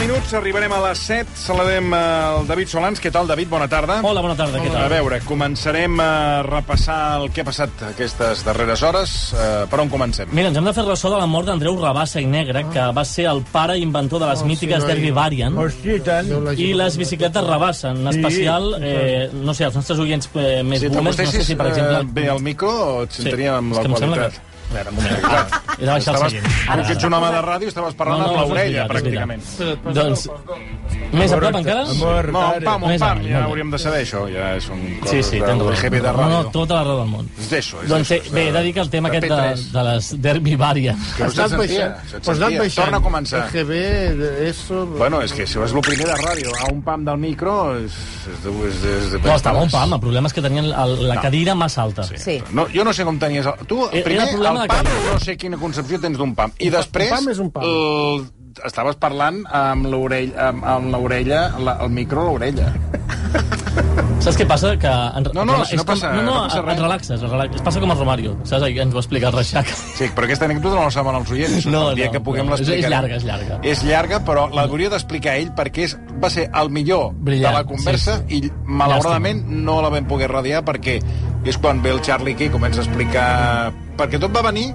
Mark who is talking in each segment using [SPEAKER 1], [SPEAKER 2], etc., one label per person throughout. [SPEAKER 1] minuts, arribarem a les 7. Saludem eh, el David Solans. Què tal, David? Bona tarda.
[SPEAKER 2] Hola, bona tarda, què
[SPEAKER 1] A
[SPEAKER 2] tal?
[SPEAKER 1] veure, començarem a repassar el que ha passat aquestes darreres hores. Eh, per on comencem?
[SPEAKER 2] Mira, ens hem de fer ressò de la mort d'Andreu Rabassa i Negre, que va ser el pare inventor
[SPEAKER 1] Oh,
[SPEAKER 2] de les mítiques Derby Variant.
[SPEAKER 3] Hosti, i tant.
[SPEAKER 2] I les bicicletes rebassa, en especial, eh, no sé, els nostres oients eh, més
[SPEAKER 1] Si
[SPEAKER 2] boomers, no sé
[SPEAKER 1] t'acostessis
[SPEAKER 2] si, per
[SPEAKER 1] eh,
[SPEAKER 2] exemple...
[SPEAKER 1] bé al micro o et sentaríem amb
[SPEAKER 2] és
[SPEAKER 1] la
[SPEAKER 2] que em sembla
[SPEAKER 1] qualitat?
[SPEAKER 2] que- A veure, un moment. Ah, he de baixar el
[SPEAKER 1] Estaves,
[SPEAKER 2] seient.
[SPEAKER 1] ara que ets un home de ràdio, estaves parlant amb l'orella, pràcticament.
[SPEAKER 2] Doncs, més a prop encara?
[SPEAKER 3] Amor,
[SPEAKER 1] No,
[SPEAKER 3] pare.
[SPEAKER 1] on pam, on
[SPEAKER 2] Més
[SPEAKER 1] pam, ja
[SPEAKER 2] avall, molt bé.
[SPEAKER 1] hauríem de saber això. Ja és un cos
[SPEAKER 2] Sí, sí,
[SPEAKER 1] del
[SPEAKER 2] tens raó.
[SPEAKER 1] GB de
[SPEAKER 2] No,
[SPEAKER 1] ràdio.
[SPEAKER 2] no, tota la raó del món.
[SPEAKER 1] És d'això, és
[SPEAKER 2] Doncs
[SPEAKER 1] d'això,
[SPEAKER 2] eh,
[SPEAKER 1] és
[SPEAKER 2] bé, he de dir que el tema
[SPEAKER 1] de
[SPEAKER 2] aquest de,
[SPEAKER 1] P3.
[SPEAKER 2] de les derbi vàries...
[SPEAKER 1] Que no se't sentia, se't
[SPEAKER 3] pues anat
[SPEAKER 1] sentia.
[SPEAKER 3] baixant.
[SPEAKER 1] Torna a començar.
[SPEAKER 3] El GB, de- eso...
[SPEAKER 1] Bueno, és que si vas el primer de ràdio a un pam del micro... És, és, de- és, de- és de
[SPEAKER 2] No, estava un pam, el problema és que tenien el, la
[SPEAKER 1] No.
[SPEAKER 2] cadira massa alta.
[SPEAKER 4] Sí.
[SPEAKER 1] No, jo no sé com tenies... El... Tu,
[SPEAKER 2] Era
[SPEAKER 1] primer,
[SPEAKER 2] problema
[SPEAKER 1] el
[SPEAKER 2] de
[SPEAKER 1] pam,
[SPEAKER 2] cadira.
[SPEAKER 1] no sé quina concepció tens d'un pam. I després...
[SPEAKER 3] pam és un pam.
[SPEAKER 1] El... Estaves parlant amb l'orella, amb, amb l'orella, la, el micro a l'orella.
[SPEAKER 2] Saps què passa? Que en...
[SPEAKER 1] No, no, si
[SPEAKER 2] és
[SPEAKER 1] no passa-
[SPEAKER 2] com... no,
[SPEAKER 1] no
[SPEAKER 2] no,
[SPEAKER 1] passa
[SPEAKER 2] et-
[SPEAKER 1] res.
[SPEAKER 2] et relaxes, et relaxes. Passa com el Romario, saps? Ahir ens ho va explicar el Reixac.
[SPEAKER 1] Sí, però aquesta anècdota no la saben els oients.
[SPEAKER 2] No,
[SPEAKER 1] el dia
[SPEAKER 2] no,
[SPEAKER 1] que puguem
[SPEAKER 2] no, és-
[SPEAKER 1] l'explicarem.
[SPEAKER 2] és llarga, és llarga.
[SPEAKER 1] És llarga, però l'hauria d'explicar ell perquè és, va ser el millor
[SPEAKER 2] Brillant,
[SPEAKER 1] de la conversa
[SPEAKER 2] sí,
[SPEAKER 1] i, malauradament, no la vam poder radiar perquè és quan ve el Charlie Key i comença a explicar... Perquè tot va venir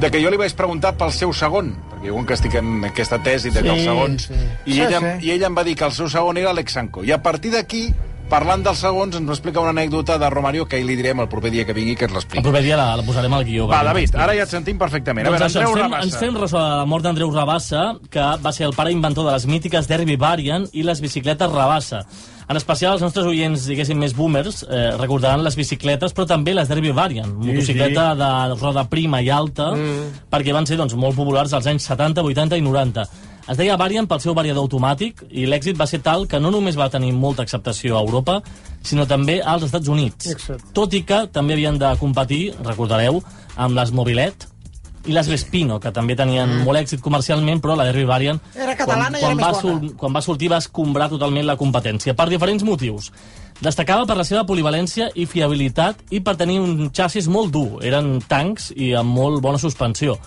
[SPEAKER 1] de que jo li vaig preguntar pel seu segon, perquè jo com que estic en aquesta tesi de que
[SPEAKER 3] Sí,
[SPEAKER 1] els segons...
[SPEAKER 3] sí.
[SPEAKER 1] I,
[SPEAKER 3] Sí,
[SPEAKER 1] ella,
[SPEAKER 3] sí.
[SPEAKER 1] I ella em va dir que el seu segon era l'Exanco. I a partir d'aquí, parlant dels segons, ens va explicar una anècdota de Romario que ell li direm el proper dia que vingui que ens l'expliqui.
[SPEAKER 2] El proper dia la, la posarem al guió.
[SPEAKER 1] Va,
[SPEAKER 2] perquè-
[SPEAKER 1] David, ara ja et sentim perfectament. A
[SPEAKER 2] Doncs
[SPEAKER 1] veure,
[SPEAKER 2] això, ens,
[SPEAKER 1] Andreu
[SPEAKER 2] fem, ens
[SPEAKER 1] Rabassa.
[SPEAKER 2] fem ressò de la mort d'Andreu Rabassa, que va ser el pare inventor de les mítiques Derby Variant i les bicicletes Rabassa. En especial, els nostres oients, diguéssim, més boomers, eh, recordaran les bicicletes, però també les Derby Variant, motocicleta de roda prima i alta,
[SPEAKER 1] Mm.
[SPEAKER 2] perquè van ser doncs, molt populars als anys 70, 80 i 90. Es deia Variant pel seu variador automàtic i l'èxit va ser tal que no només va tenir molta acceptació a Europa, sinó també als Estats Units.
[SPEAKER 3] Exacte.
[SPEAKER 2] Tot i que també havien de competir, recordareu, amb les Mobilet, i les Vespino, que també tenien mm. molt èxit comercialment, però la Derby Variant...
[SPEAKER 5] Era catalana i
[SPEAKER 2] quan, quan
[SPEAKER 5] era
[SPEAKER 2] va
[SPEAKER 5] més bona.
[SPEAKER 2] sor- Quan va sortir va escombrar totalment la competència, per diferents motius. Destacava per la seva polivalència i fiabilitat i per tenir un xassis molt dur. Eren tancs i amb molt bona suspensió.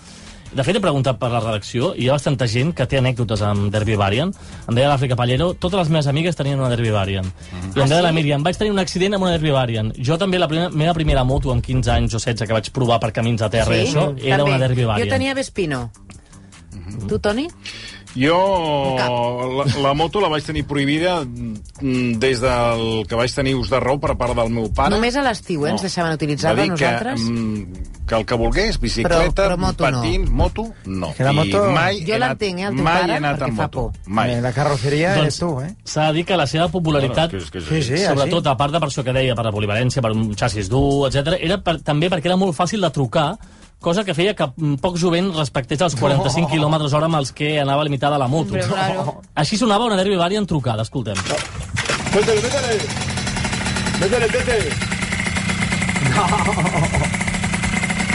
[SPEAKER 2] De fet, he preguntat per la redacció i hi ha bastanta gent que té anècdotes amb Derby Variant. Em deia l'Àfrica Pallero, totes les meves amigues tenien una Derby Variant.
[SPEAKER 4] Mm-hmm.
[SPEAKER 2] I em deia
[SPEAKER 4] Ah,
[SPEAKER 2] la Míriam, vaig tenir un accident amb una Derby Variant. Jo també, la primera, meva primera moto amb 15 anys o 16 que vaig provar per camins de terra i això, era
[SPEAKER 4] també.
[SPEAKER 2] una Derby
[SPEAKER 4] Jo
[SPEAKER 2] Variant.
[SPEAKER 4] tenia Vespino.
[SPEAKER 2] Mhm.
[SPEAKER 4] Tu, Toni?
[SPEAKER 1] Jo la, la moto la vaig tenir prohibida mm, des del que vaig tenir ús de raó per part del meu pare.
[SPEAKER 4] Només a l'estiu, eh, ens deixaven utilitzar-la
[SPEAKER 1] Va dir
[SPEAKER 4] nosaltres?
[SPEAKER 1] Que, mm, que el que volgués, bicicleta,
[SPEAKER 4] però moto no.
[SPEAKER 1] patins, moto, no.
[SPEAKER 3] Que la moto-
[SPEAKER 1] I mai
[SPEAKER 4] Jo
[SPEAKER 1] he anat-
[SPEAKER 4] l'entenc, eh, el teu
[SPEAKER 1] mai
[SPEAKER 4] pare,
[SPEAKER 1] he anat
[SPEAKER 4] perquè
[SPEAKER 1] amb
[SPEAKER 4] fa
[SPEAKER 1] moto.
[SPEAKER 4] por.
[SPEAKER 1] Mai.
[SPEAKER 3] Eh, La carroceria
[SPEAKER 2] Doncs
[SPEAKER 3] eres tu, eh?
[SPEAKER 2] s'ha de dir que la seva popularitat,
[SPEAKER 1] Bueno, és que- és que-
[SPEAKER 3] Sí, sí,
[SPEAKER 2] sobretot,
[SPEAKER 3] així.
[SPEAKER 2] a part de per això que deia, per la polivalència, per un xassis dur, etc, era per, també perquè era molt fàcil de trucar, cosa que feia que mm, poc jovent respectés els 45 oh. km hora amb els que anava limitada la moto.
[SPEAKER 4] Hombre, claro.
[SPEAKER 2] Així sonava una derbi variant trucada, escoltem.
[SPEAKER 6] Métele, métele. Métele, tete.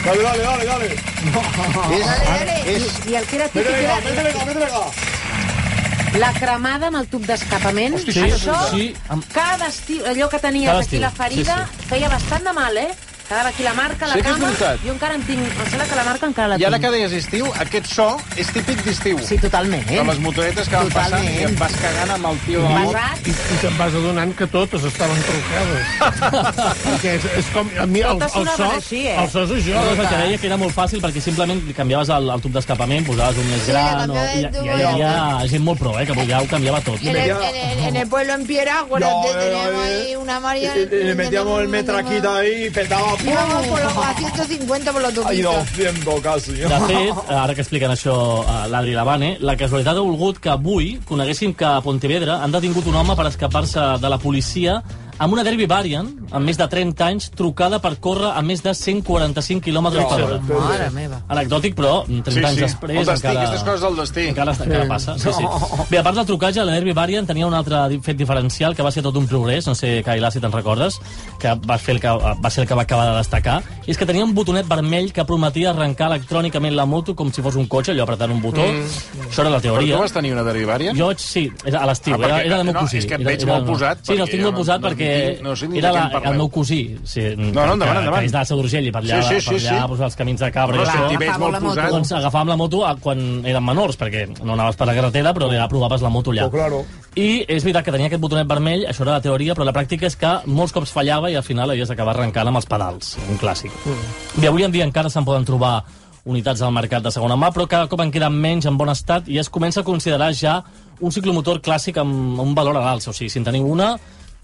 [SPEAKER 6] Dale, dale, dale, dale.
[SPEAKER 1] És,
[SPEAKER 4] I,
[SPEAKER 1] Ah, és,
[SPEAKER 4] I el que era típic
[SPEAKER 6] Métele, ga,
[SPEAKER 4] era
[SPEAKER 6] métele, ga, métele, ga.
[SPEAKER 4] la cremada amb el tub d'escapament.
[SPEAKER 2] Hosti, sí,
[SPEAKER 4] Això,
[SPEAKER 2] sí, amb-
[SPEAKER 4] cada estiu, allò que tenies
[SPEAKER 2] Cada
[SPEAKER 4] aquí
[SPEAKER 2] estiu,
[SPEAKER 4] la ferida,
[SPEAKER 2] sí,
[SPEAKER 4] feia bastant de mal, eh? Quedava aquí la marca,
[SPEAKER 1] Sí
[SPEAKER 4] la
[SPEAKER 1] que és
[SPEAKER 4] cama...
[SPEAKER 1] veritat.
[SPEAKER 4] Jo encara en tinc... Em sembla que la marca encara la
[SPEAKER 1] I ara
[SPEAKER 4] tinc.
[SPEAKER 1] que deies estiu, aquest so és típic d'estiu.
[SPEAKER 4] Sí, totalment.
[SPEAKER 1] De les motoretes que van passant i et vas cagant amb el tio de la moto.
[SPEAKER 4] Basat,
[SPEAKER 3] I, i te'n vas adonant que totes estaven trucades. Perquè és, és com... A mi el,
[SPEAKER 4] Totes
[SPEAKER 3] el so...
[SPEAKER 4] sonaven així, eh?
[SPEAKER 3] El so és això.
[SPEAKER 2] Cosa que deia que era molt fàcil perquè simplement canviaves el, el tub d'escapament, posaves un més
[SPEAKER 7] Sí,
[SPEAKER 2] gran...
[SPEAKER 7] la
[SPEAKER 2] i, i,
[SPEAKER 7] canviava de
[SPEAKER 2] hi
[SPEAKER 7] tub.
[SPEAKER 2] havia gent molt pro, eh, que ja ho canviava tot.
[SPEAKER 7] En el, en, el, en el pueblo en Piera, Pues acuérdate, teníamos ahí una María.
[SPEAKER 6] Y- y- y eh, le metíamos el metraquito ahí y petaba. ¡pum!
[SPEAKER 7] Íbamos por los, a 150 por los
[SPEAKER 6] Y
[SPEAKER 7] tubitos.
[SPEAKER 6] 200 casi.
[SPEAKER 2] De fet, ara que expliquen això eh, l'Adri Lavane, la casualitat ha volgut que avui coneguéssim que a Pontevedra han detingut un home per escapar-se de la policia amb una Derby Variant, amb més de 30 anys, trucada per córrer a més de 145 km per hora.
[SPEAKER 7] Mare meva.
[SPEAKER 2] Anecdòtic, però 30
[SPEAKER 1] Sí,
[SPEAKER 2] anys
[SPEAKER 1] sí.
[SPEAKER 2] després
[SPEAKER 1] El destí,
[SPEAKER 2] encara...
[SPEAKER 1] aquestes coses del destí.
[SPEAKER 2] Encara, sí. encara passa. Sí, sí. Bé, a part del trucatge, la Derby Variant tenia un altre di- fet diferencial que va ser tot un progrés, no sé, Cailà, si te'n recordes, que va, fer el que va ser el que va acabar de destacar, i és que tenia un botonet vermell que prometia arrencar electrònicament la moto com si fos un cotxe, allò apretant un botó. Mm. Això era la
[SPEAKER 1] Però
[SPEAKER 2] teoria.
[SPEAKER 1] tu vas tenir una derivària?
[SPEAKER 2] Jo, vaig- sí, era a l'estiu,
[SPEAKER 1] Ah, perquè-
[SPEAKER 2] era, era del meu
[SPEAKER 1] no,
[SPEAKER 2] cosí.
[SPEAKER 1] és que et
[SPEAKER 2] Era-
[SPEAKER 1] veig
[SPEAKER 2] era-
[SPEAKER 1] molt posat,
[SPEAKER 2] Sí, no,
[SPEAKER 1] perquè
[SPEAKER 2] estic molt
[SPEAKER 1] jo no-
[SPEAKER 2] posat
[SPEAKER 1] no
[SPEAKER 2] perquè
[SPEAKER 1] sé ni- no sé ni de
[SPEAKER 2] era
[SPEAKER 1] què
[SPEAKER 2] la,
[SPEAKER 1] en parlem.
[SPEAKER 2] el meu cosí. Sí,
[SPEAKER 1] No, no, endavant,
[SPEAKER 2] que,
[SPEAKER 1] endavant.
[SPEAKER 2] Que és de la Seu d'Urgell i per allà,
[SPEAKER 1] Sí, sí, sí,
[SPEAKER 2] per allà
[SPEAKER 1] sí.
[SPEAKER 2] pues, els camins de cabra.
[SPEAKER 1] No,
[SPEAKER 2] i
[SPEAKER 1] si
[SPEAKER 2] això.
[SPEAKER 1] t'hi veig molt
[SPEAKER 7] la moto.
[SPEAKER 1] posat.
[SPEAKER 2] Doncs agafàvem la moto a- quan érem menors, perquè no anaves per la carretera, però ja provaves la moto allà.
[SPEAKER 6] Oh, claro.
[SPEAKER 2] I és veritat que tenia aquest botonet vermell, això era la teoria, però la pràctica és que molts cops fallava i al final havies d'acabar arrencant amb els pedals, un clàssic. Mm. I avui en dia encara se'n poden trobar unitats al mercat de segona mà, però cada cop en queden menys en bon estat i es comença a considerar ja un ciclomotor clàssic amb un valor a l'alça. O sigui, si en teniu una,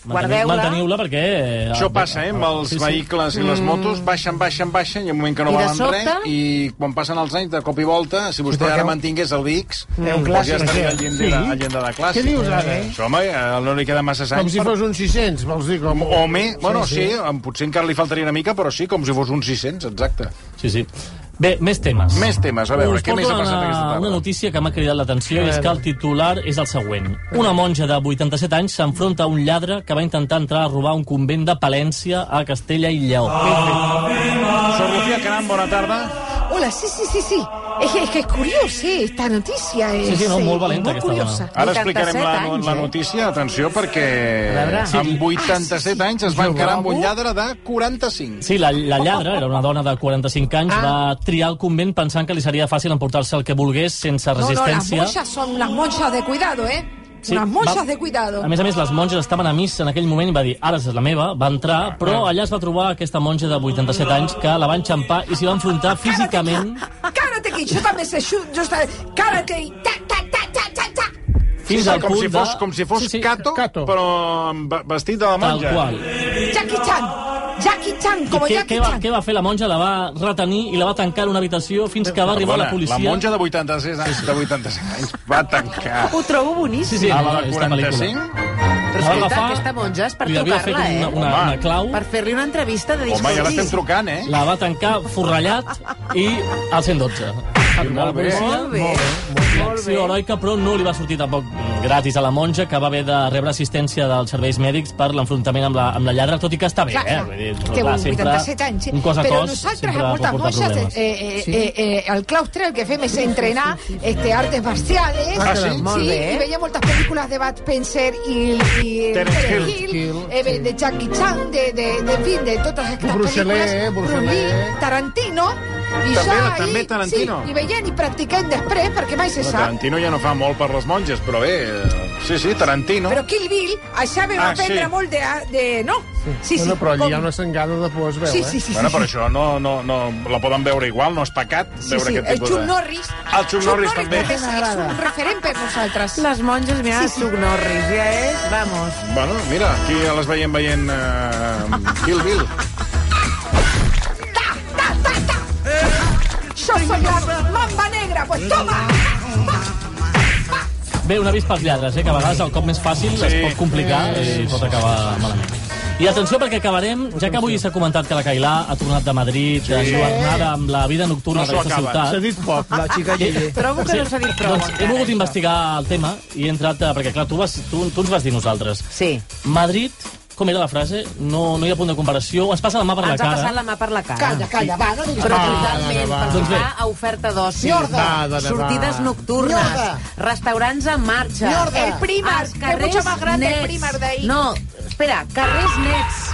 [SPEAKER 2] manteniu-
[SPEAKER 7] Guardeu-la.
[SPEAKER 2] manteniu-la perquè... eh,
[SPEAKER 1] Això
[SPEAKER 2] bé,
[SPEAKER 1] passa, eh, amb els
[SPEAKER 2] sí, sí.
[SPEAKER 1] vehicles i les motos, baixen, baixen, baixen, i en un moment que no
[SPEAKER 4] Mm. I de
[SPEAKER 1] valen
[SPEAKER 4] sobte?
[SPEAKER 1] res, i quan passen els anys, de cop i volta, si vostè
[SPEAKER 3] perquè
[SPEAKER 1] ara
[SPEAKER 3] un-
[SPEAKER 1] mantingués el VX,
[SPEAKER 3] Era un
[SPEAKER 1] doncs
[SPEAKER 3] clàssic,
[SPEAKER 1] ja estaria al
[SPEAKER 3] sí.
[SPEAKER 1] llindar, de- al llindar de clàssic.
[SPEAKER 3] Què dius ara?
[SPEAKER 1] Això, home, eh, no li queda massa anys.
[SPEAKER 3] Com si
[SPEAKER 1] per-
[SPEAKER 3] fos un 600, vols dir? Com...
[SPEAKER 1] O me, bueno, sí, em- potser encara li faltaria una mica, però sí, com si fos un 600, exacte.
[SPEAKER 2] Sí, sí. Bé, més temes.
[SPEAKER 1] Més temes, a veure,
[SPEAKER 2] Us
[SPEAKER 1] què més
[SPEAKER 2] porto
[SPEAKER 1] ha passat
[SPEAKER 2] una,
[SPEAKER 1] aquesta tarda?
[SPEAKER 2] Una notícia que m'ha cridat l'atenció és que el titular és el següent. Una monja de 87 anys s'enfronta a un lladre que va intentar entrar a robar un convent de Palència a Castella i Lleó.
[SPEAKER 7] Ah.
[SPEAKER 1] Sor Lucía Caram, bona tarda.
[SPEAKER 7] Hola, sí, sí, sí, sí. Es que, es que es curiosa eh, esta noticia. Es,
[SPEAKER 2] Sí, sí, no,
[SPEAKER 7] eh,
[SPEAKER 2] molt valenta
[SPEAKER 7] molt
[SPEAKER 2] aquesta dona.
[SPEAKER 7] curiosa.
[SPEAKER 1] Ara explicarem la,
[SPEAKER 4] 87 anys,
[SPEAKER 1] la
[SPEAKER 4] eh?
[SPEAKER 1] notícia, atenció, perquè amb 87
[SPEAKER 2] Ah,
[SPEAKER 1] anys es va encarar amb un lladre de 45.
[SPEAKER 2] Sí, la, la lladra, era una dona de 45
[SPEAKER 7] Ah.
[SPEAKER 2] anys, va triar el convent pensant que li seria fàcil emportar-se el que volgués sense
[SPEAKER 7] No, no, las
[SPEAKER 2] resistència.
[SPEAKER 7] monjas son las monjas de cuidado, ¿eh? unas monjas
[SPEAKER 2] va-
[SPEAKER 7] de cuidado.
[SPEAKER 2] A més a més, les monges estaven a missa en aquell moment i va dir, ara és la meva, va entrar,
[SPEAKER 7] Ah.
[SPEAKER 2] però allà es va trobar aquesta monja de 87 anys que la va enxampar i s'hi va enfrontar físicament
[SPEAKER 7] Cárate que yo también sé, yo, yo está- cárate y ta, ta, ta, ta, ta, ta.
[SPEAKER 2] fins al
[SPEAKER 1] Com
[SPEAKER 2] punt
[SPEAKER 1] si
[SPEAKER 2] de...
[SPEAKER 1] fos, com si fos
[SPEAKER 2] Sí, sí,
[SPEAKER 1] Cato,
[SPEAKER 3] Cato.
[SPEAKER 1] però amb va- vestit de la
[SPEAKER 2] Tal
[SPEAKER 1] monja.
[SPEAKER 2] qual.
[SPEAKER 7] Jackie Chan, Jackie Chan,
[SPEAKER 2] I
[SPEAKER 7] como
[SPEAKER 2] què,
[SPEAKER 7] Jackie
[SPEAKER 2] què, va,
[SPEAKER 7] Chan.
[SPEAKER 2] què va fer la monja? La va retenir i la va tancar en una habitació fins que va arribar
[SPEAKER 1] Perdona,
[SPEAKER 2] la policia.
[SPEAKER 1] la monja de 86 anys, de 86 anys va tancar
[SPEAKER 4] Ho trobo boníssim.
[SPEAKER 2] Sí, sí,
[SPEAKER 1] a
[SPEAKER 2] no,
[SPEAKER 1] la de
[SPEAKER 2] és la pel·lícula.
[SPEAKER 1] 45?
[SPEAKER 4] Però
[SPEAKER 2] La va
[SPEAKER 4] escolta,
[SPEAKER 2] agafar,
[SPEAKER 4] aquesta monja és per
[SPEAKER 2] li havia fet
[SPEAKER 4] trucar-la, eh?
[SPEAKER 2] una, una, una
[SPEAKER 1] Home.
[SPEAKER 2] clau,
[SPEAKER 4] Per fer-li una entrevista de
[SPEAKER 1] Home,
[SPEAKER 4] discurs.
[SPEAKER 1] i ara estem trucant, eh?
[SPEAKER 2] la va tancar forrellat i al 112.
[SPEAKER 1] molt bé.
[SPEAKER 4] Molt bé.
[SPEAKER 2] Acció heroica, però no li va sortir tampoc gratis a la monja, que va haver de rebre assistència dels serveis mèdics per l'enfrontament amb, la, amb la lladra, tot i que està bé,
[SPEAKER 7] Clar,
[SPEAKER 2] eh?
[SPEAKER 7] clar.
[SPEAKER 2] Vull dir,
[SPEAKER 7] Té
[SPEAKER 2] clar,
[SPEAKER 7] un 87 anys, sí.
[SPEAKER 2] un cos a
[SPEAKER 7] però
[SPEAKER 2] cos
[SPEAKER 7] nosaltres
[SPEAKER 2] sempre
[SPEAKER 7] a moltes
[SPEAKER 2] comporta
[SPEAKER 7] monjas
[SPEAKER 2] problemes.
[SPEAKER 7] eh, eh, eh, eh, al claustre el que fem és entrenar este, artes marciales
[SPEAKER 1] Ah, sí?
[SPEAKER 4] Molt bé.
[SPEAKER 7] i veiem moltes pel·lícules de Bud Spencer i, i
[SPEAKER 1] Terence
[SPEAKER 7] Terence
[SPEAKER 1] Hill.
[SPEAKER 7] Hill, eh, de Jackie Chan de, de, de, en fin, de totes aquestes
[SPEAKER 3] Bruce Lee,
[SPEAKER 7] pel·lícules
[SPEAKER 3] Bruce
[SPEAKER 7] Bruce Lee,
[SPEAKER 3] Lee.
[SPEAKER 7] Tarantino i
[SPEAKER 1] També-
[SPEAKER 7] ja
[SPEAKER 1] també
[SPEAKER 7] ahí,
[SPEAKER 1] Tarantino.
[SPEAKER 7] sí, i veiem i practiquem després perquè mai se
[SPEAKER 1] No,
[SPEAKER 7] sap
[SPEAKER 1] Tarantino ja no fa molt per les monges, però bé... eh, Sí, sí, Tarantino.
[SPEAKER 7] però Kill Bill allà vam
[SPEAKER 1] Ah,
[SPEAKER 7] aprendre
[SPEAKER 1] sí.
[SPEAKER 7] molt de, de no? sí, sí,
[SPEAKER 3] Bueno, però allà
[SPEAKER 7] com-
[SPEAKER 3] hi ha una sengada de por, es veu,
[SPEAKER 7] sí,
[SPEAKER 3] eh?
[SPEAKER 7] sí, sí,
[SPEAKER 1] Bueno,
[SPEAKER 7] sí,
[SPEAKER 1] però això no, no, no, la poden veure igual, no és pecat
[SPEAKER 7] Sí,
[SPEAKER 1] veure
[SPEAKER 7] sí,
[SPEAKER 1] aquest
[SPEAKER 7] el
[SPEAKER 1] tipus
[SPEAKER 7] Chuck
[SPEAKER 1] de...
[SPEAKER 7] Norris.
[SPEAKER 1] El Ah, Chuck Norris també.
[SPEAKER 7] És, és un referent per nosaltres.
[SPEAKER 4] Les monges, mira, sí, sí. Chuck Norris, ja és, vamos.
[SPEAKER 1] Bueno, mira, aquí ja les veiem veient eh, Kill Bill.
[SPEAKER 7] Ta, ta, ta, ta. Yo soy la mamba negra, pues toma.
[SPEAKER 2] Bé, un avís pels lladres, eh, que a vegades el cop més fàcil sí. es pot complicar i pot acabar malament. I atenció perquè acabarem, ja que avui s'ha comentat que la Cailà ha tornat de Madrid, sí. enjornada amb la vida nocturna
[SPEAKER 1] No s'ho
[SPEAKER 2] d'aquesta
[SPEAKER 1] acaba.
[SPEAKER 2] ciutat.
[SPEAKER 3] S'ha dit poc.
[SPEAKER 5] La xica Gigi.
[SPEAKER 4] Trobo que no s'ha dit prou.
[SPEAKER 2] Doncs he
[SPEAKER 4] encara, eh?
[SPEAKER 2] volgut
[SPEAKER 4] això.
[SPEAKER 2] investigar el tema i he entrat... A, perquè, clar, tu, vas, tu, tu ens vas dir nosaltres.
[SPEAKER 4] Sí.
[SPEAKER 2] Madrid, com era la frase? No, no hi ha punt de comparació. Ens passa la mà per
[SPEAKER 4] Ens
[SPEAKER 2] la
[SPEAKER 4] ha
[SPEAKER 2] cara.
[SPEAKER 4] passat la mà per la cara.
[SPEAKER 7] Calla, calla, va, no diguis
[SPEAKER 4] Però
[SPEAKER 7] nada.
[SPEAKER 4] totalment,
[SPEAKER 3] va,
[SPEAKER 4] pel
[SPEAKER 2] Doncs
[SPEAKER 4] que
[SPEAKER 2] bé.
[SPEAKER 4] fa a oferta d'oci,
[SPEAKER 3] Mierda. Va, dona,
[SPEAKER 4] sortides
[SPEAKER 3] va.
[SPEAKER 4] nocturnes,
[SPEAKER 7] Mierda.
[SPEAKER 4] restaurants en marxa,
[SPEAKER 7] Mierda. El Primark,
[SPEAKER 4] als
[SPEAKER 7] que
[SPEAKER 4] carrers
[SPEAKER 7] mucho más grande el
[SPEAKER 4] nets.
[SPEAKER 7] Primark de ahí.
[SPEAKER 4] No, espera, carrers nets,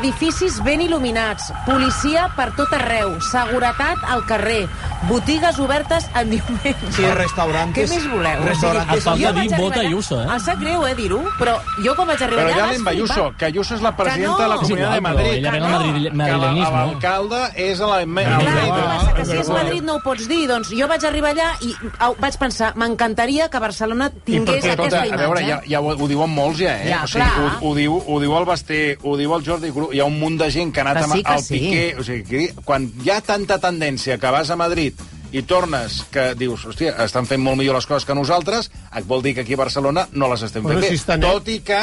[SPEAKER 4] edificis ben il·luminats, policia per tot arreu, seguretat al carrer, botigues obertes en diumenge.
[SPEAKER 5] Sí, restaurantes.
[SPEAKER 4] Què més voleu?
[SPEAKER 5] Restaurantes.
[SPEAKER 2] Et falta
[SPEAKER 4] Jo vaig
[SPEAKER 2] dir bota
[SPEAKER 4] arribar-
[SPEAKER 2] i ussa, eh?
[SPEAKER 4] Em sap greu, eh, dir-ho, però jo quan vaig arribar
[SPEAKER 1] Però ja
[SPEAKER 4] allà...
[SPEAKER 1] anem
[SPEAKER 4] vaig
[SPEAKER 1] Ayuso,
[SPEAKER 4] flipar.
[SPEAKER 1] que Ayuso és la presidenta
[SPEAKER 4] Que no.
[SPEAKER 1] de la
[SPEAKER 4] És
[SPEAKER 1] Comunitat de
[SPEAKER 2] igual, però
[SPEAKER 1] Madrid.
[SPEAKER 2] ella ve del
[SPEAKER 1] Que no.
[SPEAKER 2] madrid-
[SPEAKER 1] Que la-
[SPEAKER 2] madrilenisme.
[SPEAKER 1] L'alcalde és a la... a
[SPEAKER 4] Clar,
[SPEAKER 1] Madrid.
[SPEAKER 4] què passa? Que si és Madrid no ho pots dir. Doncs jo vaig arribar allà i au, vaig pensar, m'encantaria que Barcelona tingués
[SPEAKER 1] Perquè,
[SPEAKER 4] aquesta
[SPEAKER 1] a
[SPEAKER 4] imatge.
[SPEAKER 1] veure, ja, ja ho, ho diuen molts ja, eh?
[SPEAKER 4] Ja,
[SPEAKER 1] o sigui,
[SPEAKER 4] clar.
[SPEAKER 1] ho, ho, diu, ho diu el Basté, ho diu el Jordi Cruz, hi ha un munt de gent que ha anat
[SPEAKER 4] Que sí,
[SPEAKER 1] amb
[SPEAKER 4] que
[SPEAKER 1] el
[SPEAKER 4] sí.
[SPEAKER 1] Piqué... O sigui, que, quan hi ha tanta tendència que vas a Madrid i tornes que dius, hòstia, estan fent molt millor les coses que nosaltres, et vol dir que aquí a Barcelona no les estem
[SPEAKER 3] Però
[SPEAKER 1] fent
[SPEAKER 3] si
[SPEAKER 1] bé.
[SPEAKER 3] està net.
[SPEAKER 1] Tot i que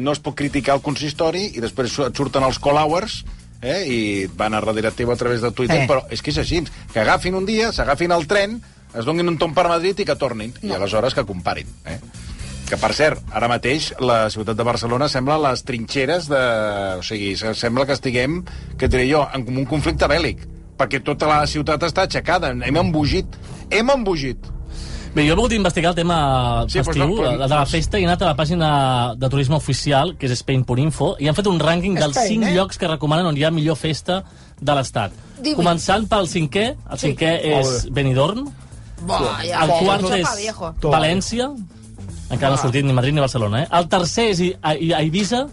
[SPEAKER 1] no es pot criticar el consistori i després su- et surten els call hours eh, i et van a darrere teu a través de Twitter,
[SPEAKER 5] Sí.
[SPEAKER 1] però és que és així, que agafin un dia, s'agafin el tren, es donin un tomb per Madrid i que tornin, no. i aleshores que comparin. Eh? Que, per cert, ara mateix la ciutat de Barcelona sembla les trinxeres de... O sigui, se- sembla que estiguem, que diré jo, en un conflicte bèl·lic, perquè tota la ciutat està aixecada, hem embogit, hem embogit.
[SPEAKER 2] Bé, jo he volgut investigar el tema
[SPEAKER 1] Sí,
[SPEAKER 2] sí, festiu,
[SPEAKER 1] doncs no, però-
[SPEAKER 2] la- la de la festa, i he anat a la pàgina de turisme oficial, que és spain.info, i han fet un rànquing dels
[SPEAKER 5] Spain,
[SPEAKER 2] 5
[SPEAKER 5] eh?
[SPEAKER 2] llocs que recomanen on hi ha millor festa de l'estat.
[SPEAKER 7] Divuit.
[SPEAKER 2] Començant pel cinquè, el
[SPEAKER 7] Sí.
[SPEAKER 2] cinquè és Benidorm,
[SPEAKER 7] Vaya,
[SPEAKER 2] el quart
[SPEAKER 7] sopa,
[SPEAKER 2] és
[SPEAKER 7] viejo.
[SPEAKER 2] València, encara
[SPEAKER 1] Ah.
[SPEAKER 2] no ha sortit ni Madrid ni Barcelona, eh? El tercer és I I a Eivissa,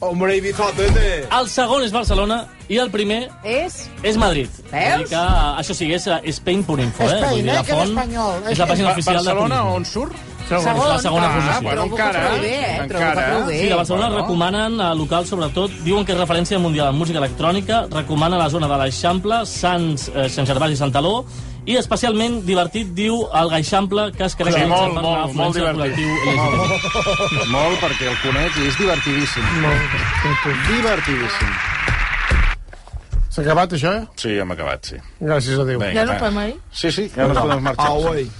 [SPEAKER 6] Hombre, Ibiza, tete.
[SPEAKER 2] el segon és Barcelona i el primer
[SPEAKER 4] És...
[SPEAKER 2] és Madrid.
[SPEAKER 4] Veus?
[SPEAKER 2] Vull dir Que, eh, això sí, és eh, spain.info, eh?
[SPEAKER 5] Spain,
[SPEAKER 2] Vull dir, la
[SPEAKER 5] eh, que era
[SPEAKER 2] font
[SPEAKER 5] espanyol.
[SPEAKER 2] És la pàgina
[SPEAKER 1] Ba-
[SPEAKER 2] oficial
[SPEAKER 1] Barcelona
[SPEAKER 2] de turisme.
[SPEAKER 1] on surt?
[SPEAKER 2] És la segona
[SPEAKER 1] Ah,
[SPEAKER 2] posició.
[SPEAKER 1] bueno,
[SPEAKER 4] Trobo que
[SPEAKER 1] encara,
[SPEAKER 4] prou bé, eh? Trobo que
[SPEAKER 1] encara.
[SPEAKER 4] prou bé.
[SPEAKER 2] Sí, de Barcelona
[SPEAKER 1] Bueno.
[SPEAKER 2] recomanen a local, sobretot, diuen que és referència mundial en música electrònica, recomana la zona de l'Eixample, Sants, eh, Sant Gervasi i Santaló, i especialment divertit, diu, el Gaixample, que es caracteritza
[SPEAKER 1] molt,
[SPEAKER 2] per
[SPEAKER 1] molt,
[SPEAKER 2] l'afluència
[SPEAKER 1] molt
[SPEAKER 2] del
[SPEAKER 1] divertit.
[SPEAKER 2] col·lectiu LGBT.
[SPEAKER 1] Molt, perquè el coneix i és divertidíssim. Divertidíssim.
[SPEAKER 3] S'ha acabat, això?
[SPEAKER 1] Sí, hem acabat, sí.
[SPEAKER 3] Gràcies a Déu.
[SPEAKER 1] Vinga,
[SPEAKER 5] Ja no
[SPEAKER 1] va.
[SPEAKER 5] podem ir?
[SPEAKER 1] Sí, sí, ja no podem marxar.
[SPEAKER 6] Ah, güey.